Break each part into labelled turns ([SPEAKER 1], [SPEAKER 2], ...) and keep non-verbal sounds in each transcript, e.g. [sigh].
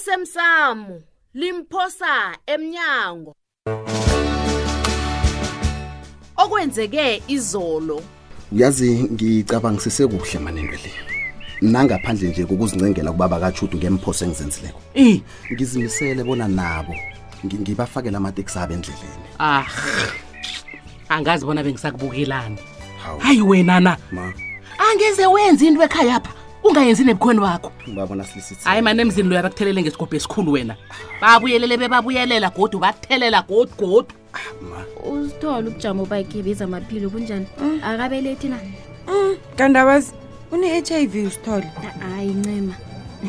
[SPEAKER 1] lasemsamo limphosa emnyango okwenzeke izolo
[SPEAKER 2] uyazi ngicabangisise kuhle manento le nangaphandle nje kokuzincengela ukuba bakatshudu ngemphoso engizenzileko
[SPEAKER 3] Eh,
[SPEAKER 2] ngizimisele bona nabo ngi- ngibafakele amateksi abo endleleni
[SPEAKER 3] ah. Angazi bona bengisakubukelani.
[SPEAKER 2] hawu
[SPEAKER 3] Hayi wena na,
[SPEAKER 2] ma
[SPEAKER 3] angeze wenza into ekhaya apha. Ungayenzi nebukhweni bakho.
[SPEAKER 2] ubabona silisithi
[SPEAKER 3] Hayi manje emzini loya bakuthelele ngesigobhe esikhulu wena. Babuyelele bebabuyelela godu bathelela godu godu.
[SPEAKER 2] ma
[SPEAKER 4] uzithole ubujamo bakhe bezamaphilo kunjani akabelethi na
[SPEAKER 5] Mm, kanti awazi une-h i v usithole
[SPEAKER 4] hayi ncema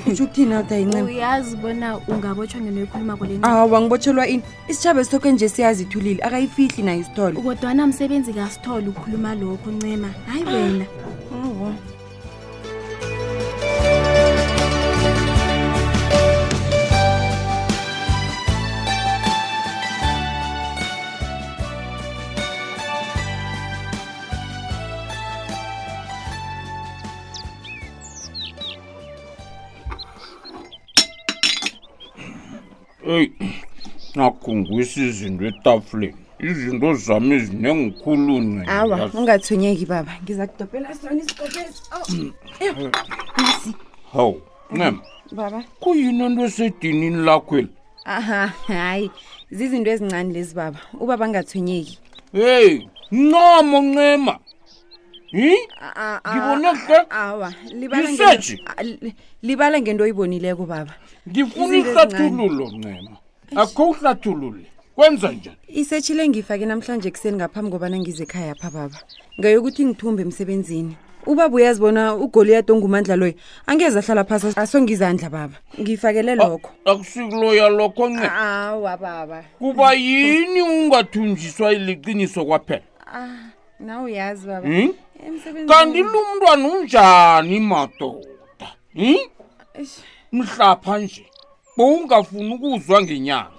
[SPEAKER 5] utsho ukuthini awuthi ayincema
[SPEAKER 4] uyazi bona ungabotshwa ngento yokhuluma kole
[SPEAKER 5] awa ngibotshelwa ini isitshaba esithoke nje siyazithulile akayifihli nayo isithole
[SPEAKER 4] kodwana msebenzi kasithole ukukhuluma lokho ncema hayi wena
[SPEAKER 5] Awa.
[SPEAKER 6] eyi nakungwisa izinto etafuleni izinto zami ezinengikhulune
[SPEAKER 5] awa ungathonyeki baba ngiza kudobhela sona isigobesi nasi
[SPEAKER 6] hawu ncema
[SPEAKER 5] baba
[SPEAKER 6] kuyini into esedinini lakhweli
[SPEAKER 5] aha hayi zizinto ezincane lezi baba ubaba angathonyeki
[SPEAKER 6] heyi ncamo ncema hi
[SPEAKER 5] A- a-
[SPEAKER 6] ngibone hle
[SPEAKER 5] awa libala
[SPEAKER 6] Yiseji.
[SPEAKER 5] ngento- a- li- libala ngento oyibonileko baba
[SPEAKER 6] ngifuna
[SPEAKER 5] Izinto ezincane.
[SPEAKER 6] ihlathululo ncema akho uhlathulule kwenza njani
[SPEAKER 5] isetshile ngifake namhlanje ekuseni ngaphambi kobana ngize ekhaya pha baba ngayokuthi ngithumbe emsebenzini ubaba uyazibona ugoliyat ongumandla loyo angeze ahlala phasi asongizandla baba ngifakele
[SPEAKER 6] Oh.
[SPEAKER 5] lokho
[SPEAKER 6] akusikuloya lokho ncema
[SPEAKER 5] awa baba
[SPEAKER 6] kuba yini ungathunjiswa iliqiniso kwaphela
[SPEAKER 5] ah, nawe uyazi baba
[SPEAKER 6] Hmm?
[SPEAKER 5] Emsebenzini-
[SPEAKER 6] kanti lo mntwana unjani madoda hi
[SPEAKER 5] Eish,
[SPEAKER 6] mhlapha nje bowungafuni ukuzwa ngenyanga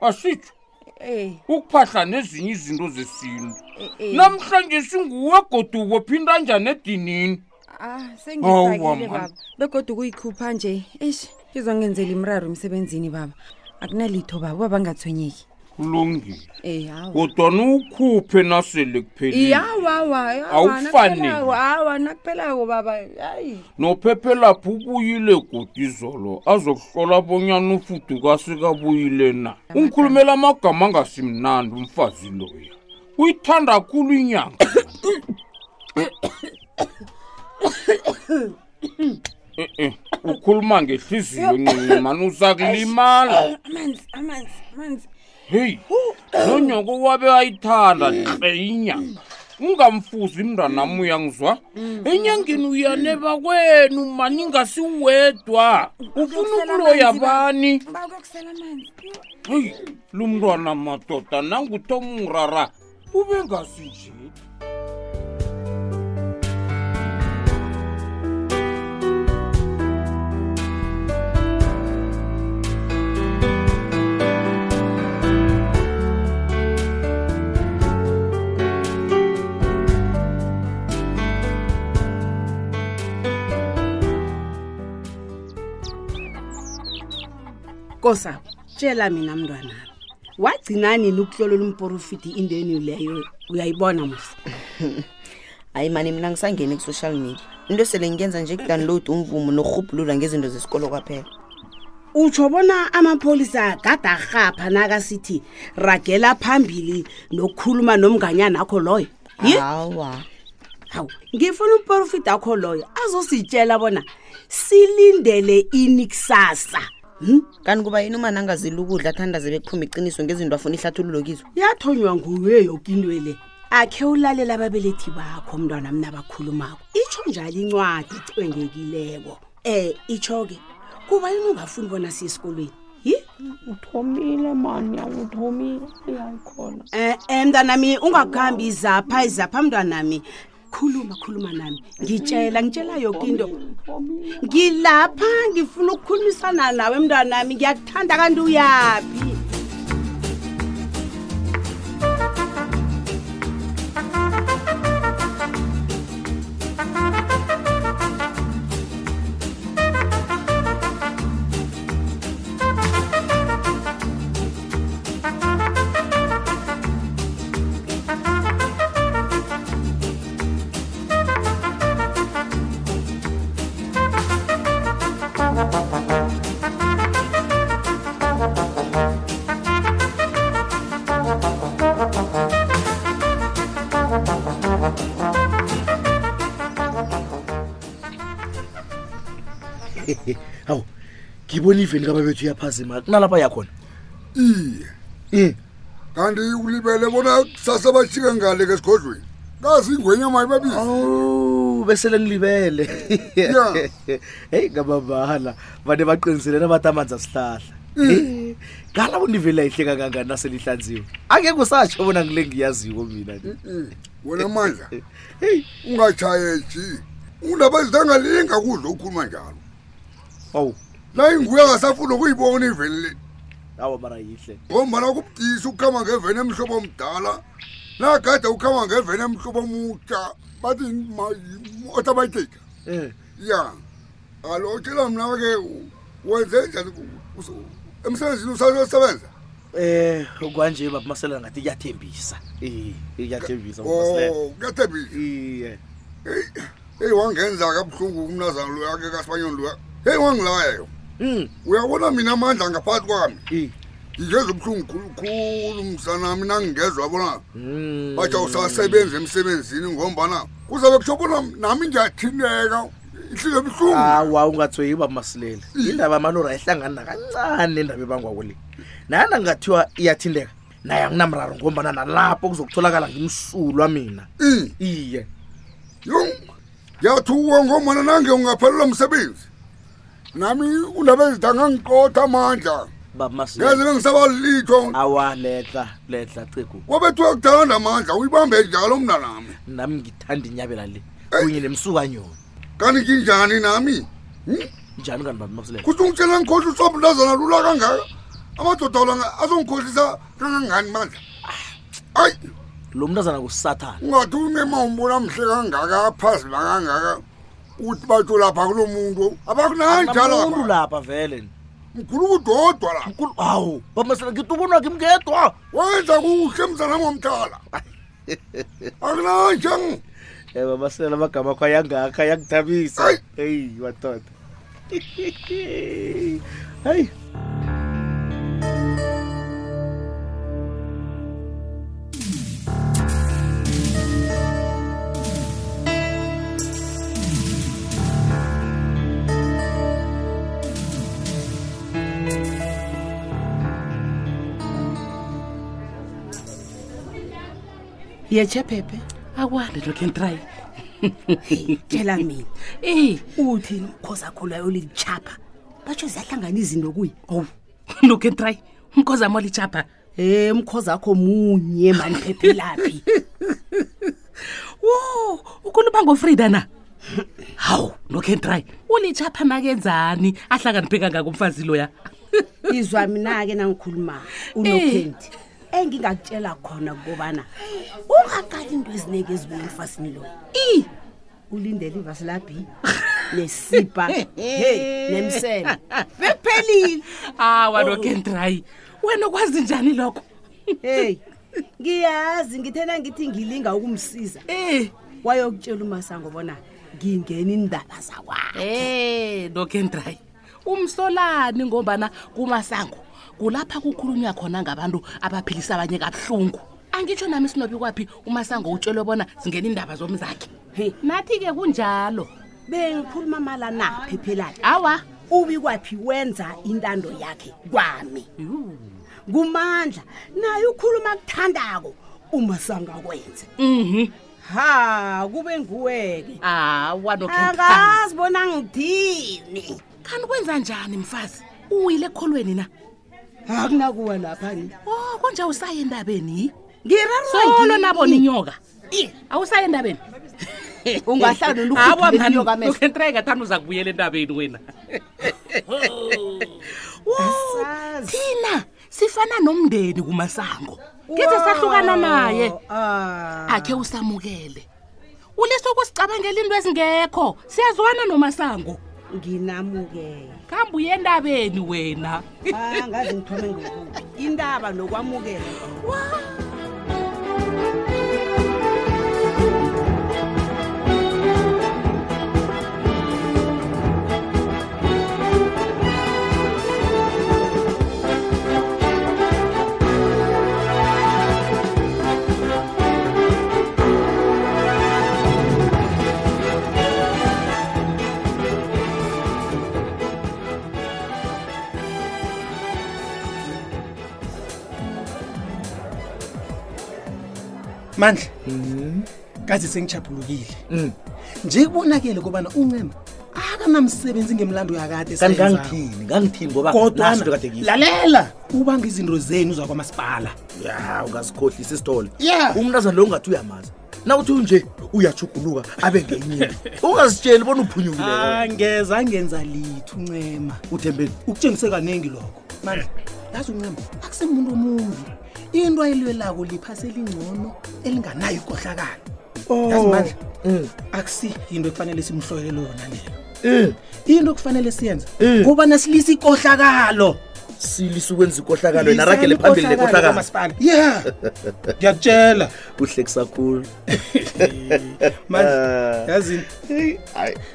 [SPEAKER 6] wasitsho
[SPEAKER 5] eh,
[SPEAKER 6] ukuphahla nezinye izinto zesintu
[SPEAKER 5] eh, eh.
[SPEAKER 6] namhlanje singuwe godubo phinda njani edinini
[SPEAKER 5] Ah,
[SPEAKER 6] Awa,
[SPEAKER 5] sengifakile
[SPEAKER 6] man.
[SPEAKER 5] baba begodwa ukuyikhupha nje eish izongenzela imraro emsebenzini baba akunalitho baba ubaba angathonyeki
[SPEAKER 6] kulungile
[SPEAKER 5] Eh, awa.
[SPEAKER 6] kodwana ukhuphe nasele kuphelile Awufanele.
[SPEAKER 5] iyawawaawaawa nakuphelako baba hayi
[SPEAKER 6] nophephelaphi ubuyile godi izolo azokuhlola bonyana ufudukase kabuyile na ungikhulumela amagama angasimnandi umfazi loya uyithanda khulu inyanga [coughs] Eh, eh, ukhuluma ngehliziyo ncincimani uzakulimala
[SPEAKER 5] amanzi amanzi amanzi
[SPEAKER 6] heyi nonyoko wabe ayithanda hle inyanga ungamfuzi mntanam uyangizwa enyangeni uyaneba kwenu mani ingasiwedwa ufuna ukuloya bani
[SPEAKER 5] ba kuyokusela amanzi
[SPEAKER 6] heyi lo mntwana madoda nanguthoma ungirara ube ngasinjeni
[SPEAKER 7] kosa tshela mina mntwana wagcinani ukuhlolela umporofiti indeni leyo uyayibona musa
[SPEAKER 8] hayi mani mina ngisangene ku-social media into esele ngenza nje kudownload umvumo norhubhulula ngezinto zesikolo kwaphela
[SPEAKER 7] utsho bona amapholisa gada rhapha nakasithi ragela phambili nokukhuluma nomnganyana akho loyo ye
[SPEAKER 8] hawa
[SPEAKER 7] hawu ngifuna umporofiti akho loyo azositshela bona silindele ini kusasa hmm?
[SPEAKER 8] kanti kuba yini umani angazili ukudla athandaze bekuphuma iqiniso ngezinto afuna ihlathululo kizo
[SPEAKER 7] yathonywa nguye yoke into le akhe ulalela ababelethi bakho mntwana mna bakhulumako itsho njalo incwadi icwengekileko um itsho-ke kuba yini ungafuni bona siye esikolweni yi
[SPEAKER 8] uthomile mani awuthomile iyayikhona
[SPEAKER 7] um mntwanami ungakuhambi izapha izapha mntwanami khuluma khuluma nami ngitshela ngitshela yoke into ngilapha ngifuna ukukhulumisana nawe mntwanami ngiyakuthanda kanti uyaphi
[SPEAKER 9] ngibona iveli kababethu iyaphazima kunalapha yakhona
[SPEAKER 10] iye kanti ulibele bona kusasa bashike ngale ke esigodlweni kazi ingwenyama ibabisi
[SPEAKER 9] Oh, bese lengilibele [laughs]
[SPEAKER 10] Ya.
[SPEAKER 9] heyi ngababala bane baqiniselena bathi amanzi asihlahla
[SPEAKER 2] Mm.
[SPEAKER 9] Eh, ngala bona iveli ayihleka kangani naselihlanziwe angeke usatsho bona ngile ngiyaziwo mina nje.
[SPEAKER 2] Mm,
[SPEAKER 10] wena mandla ungatshayeji undaba zidangalinga kudla ukukhuluma njalo
[SPEAKER 9] awu
[SPEAKER 10] la inguya ngasafuna ukuyibona iveli le
[SPEAKER 9] awa mara yihle
[SPEAKER 10] ngombana kubudisi ukukhamba ngeveni emhlobo omdala nagade ukukhamba ngeveni emhlobo omutsha bathi otabayitika
[SPEAKER 9] Eh,
[SPEAKER 10] ya alo tshela mna ke u- wenze njani ku- us- emsebenzini usasebenza
[SPEAKER 9] eh kwanje baba maselela ngathi iyathembisa Oh. Eh, iyathembisa Baba Maselela.
[SPEAKER 10] o kuyathembisa
[SPEAKER 9] iye
[SPEAKER 10] eyi wangenza kabuhlungu umnazana loya ke kasibanyoni loya heyi wangilayayo
[SPEAKER 9] Mm,
[SPEAKER 10] uyabona mina amandla ngaphakathi kwami
[SPEAKER 9] i-
[SPEAKER 10] ngingeza ubuhlungu khulukhulu msanami nangingezwa bona
[SPEAKER 9] mm.
[SPEAKER 10] batsha usasebenza emsebenzini ngombana kuzabe kusho bona nami ngiyathineka ihlize buhlungu
[SPEAKER 9] awa ungathweyi uba masilela indaba yamalori ayihlangani nakancane indaba ebangwako le nayana ngingathiwa iyathinteka naye anginamraro ngombana nalapho kuzokutholakala ngimsulwa mina
[SPEAKER 10] I,
[SPEAKER 9] iye
[SPEAKER 10] yo Hmm, ngiyathuka ngombana nange ungaphelelwa msebenzi nami undaba ezidanga ngiqotha amandla
[SPEAKER 9] baba
[SPEAKER 10] ngeze
[SPEAKER 9] masilela
[SPEAKER 10] bengisabalilitho
[SPEAKER 9] awa ledla ledla cegu
[SPEAKER 10] wabethiwe kudalanda amandla uyibambe njalo mnanami
[SPEAKER 9] nami ngithanda inyabela le kunye nemsukanyoni
[SPEAKER 10] kanti nginjani nami
[SPEAKER 9] njani kani baba masilela
[SPEAKER 10] kuthi ungitshela ngikhohlisa usobulazana lula kangaka amadoda olanga azongikhohlisa kangangani mandla ayi
[SPEAKER 9] lo mntazana kusathana
[SPEAKER 10] ungathi unemawumbona mhle kangaka aphazima kangaka uthi batsho lapha kulo muntu
[SPEAKER 9] umuntu
[SPEAKER 10] abakunanjalapha
[SPEAKER 9] lapha vele
[SPEAKER 10] mkhulu kudodwa la
[SPEAKER 9] Nkulu- hawu baba masilela ngithi ubonwa ngimngedwa
[SPEAKER 10] wenza kuhle mzanami omdala akunanje
[SPEAKER 9] Eh baba sela amagama akho ayangakha ayangithabisa.
[SPEAKER 10] Ayi.
[SPEAKER 9] Hey watoda. Hey
[SPEAKER 11] yetshe phephe
[SPEAKER 7] akwalelo can try
[SPEAKER 11] tshela mina
[SPEAKER 7] eyi
[SPEAKER 11] uthini ukhoza khulu ayolitshapha batsho ziyahlangana izinto kuye
[SPEAKER 7] owu lo can try umkhoza molitshapha
[SPEAKER 11] e mkhoza akho
[SPEAKER 8] [laughs]
[SPEAKER 11] munye mani phephe laphi
[SPEAKER 7] wo ukuluba ngofrida na hawu no can try ulitshapha makenzani ahlakaniphe kangaka umfazi loya
[SPEAKER 11] izwa mina-ke nangikhuluma unokhendi
[SPEAKER 8] Eh.
[SPEAKER 11] engingakutshela khona kukobana ungaqali into eziningi ezibuya emfasini loyo
[SPEAKER 7] i
[SPEAKER 11] ulindele ivasi labhi nesibha hey nemsele bekuphelile
[SPEAKER 7] hawa no can try wena ukwazi njani lokho
[SPEAKER 11] heyi ngiyazi ngithena ngithi ngilinga ukumsiza
[SPEAKER 7] Eh.
[SPEAKER 11] wayokutshela umasango bona ngingena indaba zakwakho
[SPEAKER 7] Eh, dokendray. Umsolani ngombana kumasango kulapha kukhulunywa khona ngabantu abaphilisa abanye kabuhlungu. Angitsho nami sinobi kwapi umasango utshelwe bona singena indaba zomzakhe.
[SPEAKER 11] He.
[SPEAKER 7] Nathi ke kunjalo.
[SPEAKER 11] bengikhuluma mala na phephelaphi
[SPEAKER 7] Awa,
[SPEAKER 11] ubi kwaphi wenza intando yakhe kwami kumandla naye ukhuluma kuthandako umasanga kwenze
[SPEAKER 7] mhm.
[SPEAKER 11] ha kube nguweke
[SPEAKER 7] Awa dokendray.
[SPEAKER 11] angazi bona ngithini
[SPEAKER 7] Kanti kwenza njani mfazi? Uwile ekholweni na.
[SPEAKER 11] akunakuwa laphani
[SPEAKER 7] Oh, konje usaye endabeni. Solo nabo
[SPEAKER 11] ngirarolo
[SPEAKER 7] ninyoka. Awusaye endabeni.
[SPEAKER 11] ungahlala
[SPEAKER 7] Hawa mani,
[SPEAKER 11] nolukhuthuleliyo kamehlo
[SPEAKER 7] dokendray ngathanda uza kubuyela endabeni [laughs] wena. Wo,
[SPEAKER 11] Asazi.
[SPEAKER 7] thina sifana nomndeni kumasango kize sahlukana naye
[SPEAKER 11] Ah.
[SPEAKER 7] akhe usamukele ulisokusicabangela into ezingekho siyazwana nomasango
[SPEAKER 11] nginamukela
[SPEAKER 7] kambe uye endabeni wena
[SPEAKER 11] Ah, ngazi ngithome ngokubi indaba nokwamukela
[SPEAKER 9] mandla kazi sengichaphulukile nje kubonakele kobana uncema akanamsebenzi ngemlando yakade
[SPEAKER 2] kanti
[SPEAKER 9] esenzako.
[SPEAKER 2] ngangithini ngangithini ngoba
[SPEAKER 9] Kodwana,
[SPEAKER 2] naso into kade kiyo.
[SPEAKER 9] lalela ubanga izinto zenu zakwamasipala
[SPEAKER 2] ya ungazikhohlisa isithole
[SPEAKER 9] Yeah.
[SPEAKER 2] umntazana lo ungathi uyamaza nawuthi unje uyajuguluka abe
[SPEAKER 9] [laughs]
[SPEAKER 2] ngenye into. ungazitsheli bona uphunyukileyo
[SPEAKER 9] angeza angenza litho uncema uthembeni ukutshengise kaningi lokho mandla yazi uncema akusemuntu omumbi into ayilwelako liphase elingcono elinganayo ikohlakalo yazi mandla
[SPEAKER 2] Oh. Mm.
[SPEAKER 9] akusi yinto ekufanele simhloyele lona leyo Eh, into ekufanele siyenze kobana silise ikohlakalo
[SPEAKER 2] silise Eh. ukwenza ikohlakalo yena aragele phambili nekohlakalo
[SPEAKER 9] ya ngiyakutshela
[SPEAKER 2] [laughs] kuhle kusakhulu
[SPEAKER 9] Mandla, yazini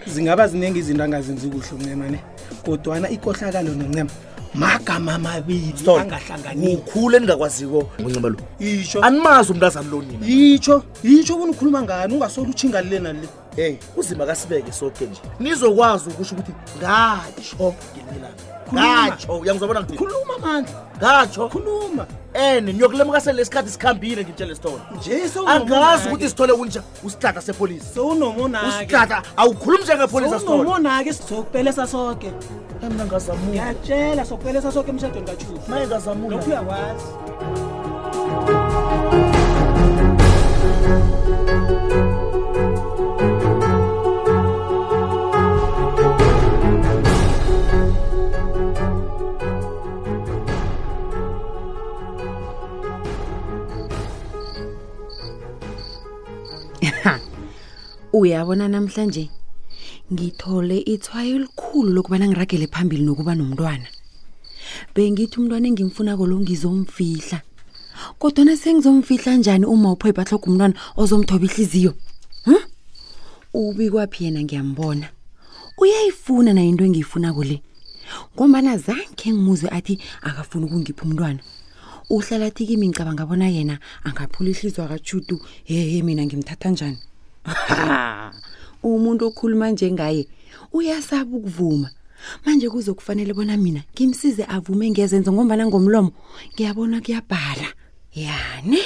[SPEAKER 9] zingaba ziningi izinto angazenzi kuhle uncema ne kodwana ikohlakalo noncema magama amabili angahlanganiki
[SPEAKER 2] ukhulu eningakwaziko ngoncema lo
[SPEAKER 9] yitsho
[SPEAKER 2] animazi umntazana lo nina
[SPEAKER 9] yitsho yitsho bona ukhuluma ngani ungasole utshingalile nalile
[SPEAKER 2] eyi uzima kasibeke soke nje nizokwazi ukusho ukuthi ngatsho ngelinilanga ngatsho uyangizwa bona ngithini
[SPEAKER 9] khuluma mandla
[SPEAKER 2] ngatsho
[SPEAKER 9] khuluma
[SPEAKER 2] ene niyokulemuka sele lesikhathi sikhambile ngitshela isithole
[SPEAKER 9] nje
[SPEAKER 2] angazi ukuthi sithole kunja usihlahla sepolisi
[SPEAKER 9] sowunomonake
[SPEAKER 2] usihlahla awukhulumi njengepolisa sithole
[SPEAKER 9] sowunomonake sizokupelesa soke
[SPEAKER 2] mina ngazamula
[SPEAKER 9] ngiyatshela sizokupelesa soke emshadweni kachufu
[SPEAKER 2] mina ngazamula
[SPEAKER 9] lokhu uyakwazi
[SPEAKER 5] uyabona namhlanje ngithole ithwayo elikhulu lokubana ngiragele phambili nokuba nomntwana bengithi umntwana engimfunako lo ngizomfihla kodwana sengizomfihla njani uma uphepha hloga umntwana ozomthoba ihliziyo hm? ubikwaphi yena ngiyambona uyayifuna na into engiyifunako le ngombana zange ngimuzwe athi akafuni ukungipha umntwana uhlala athi kimi ngicabanga bona yena angaphula ihlizwa kajudu yeye mina ngimthatha njani Ha! umuntu okhuluma njengaye uyasaba ukuvuma manje kuzokufanele bona mina ngimsize avume ngezenzo ngombana ngomlomo ngiyabona kuyabhala yane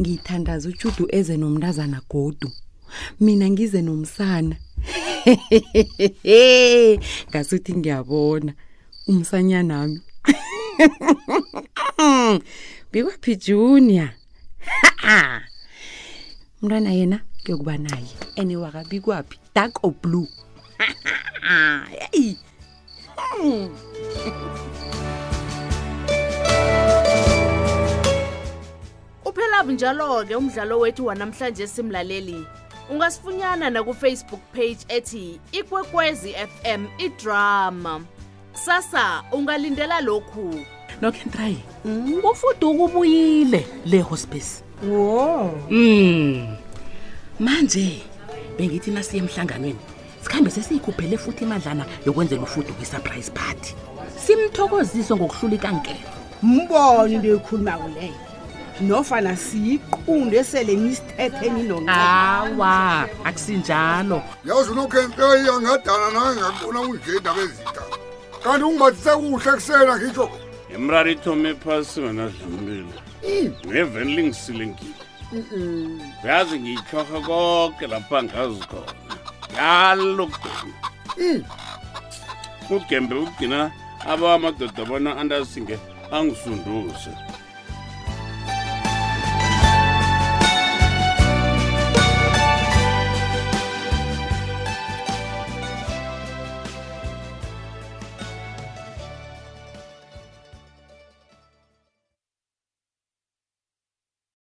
[SPEAKER 5] ngithandaza ujudu eze nomntazana godu mina ngize nomsana [laughs] ngasuthi ngiyabona umsanyanami [laughs] bikwaphi junior Ha-ha. umntwana yena kuyokuba naye ene wakabi kwaphi dark or blue [laughs] yeyi
[SPEAKER 7] Uphela njalo-ke umdlalo wethu wanamhlanje simlaleli. Ungasifunyana na ku-Facebook page ethi Ikwekwezi FM iDrama. Sasa ungalindela lokhu.
[SPEAKER 11] nokentrayi ufuduka ubuyile le hospice
[SPEAKER 5] wo
[SPEAKER 11] um manje bengithi nasiye emhlanganweni sikhambe sesiyikhuphele futhi imandlana yokwenzela ufudu kwi-surprise party simthokozise ngokuhlula ikankelo
[SPEAKER 12] mbone into ekhulumako leyo nofana siyiqundo esele nisithethe ninoncema
[SPEAKER 11] awa akusinjalo
[SPEAKER 10] yazi unokhenkeyi angadana naye ngakubona kunje indaba ezita kanti ungibathise kuhle kusena ngitsho
[SPEAKER 6] imrari ithome phasi wena dlambile ngeveni lingisile ngile uyazi ngiyitlhorha konke lapha ngazi khona ngalo kugcina ugembe ugcina abamadoda bona andasinge angisunduse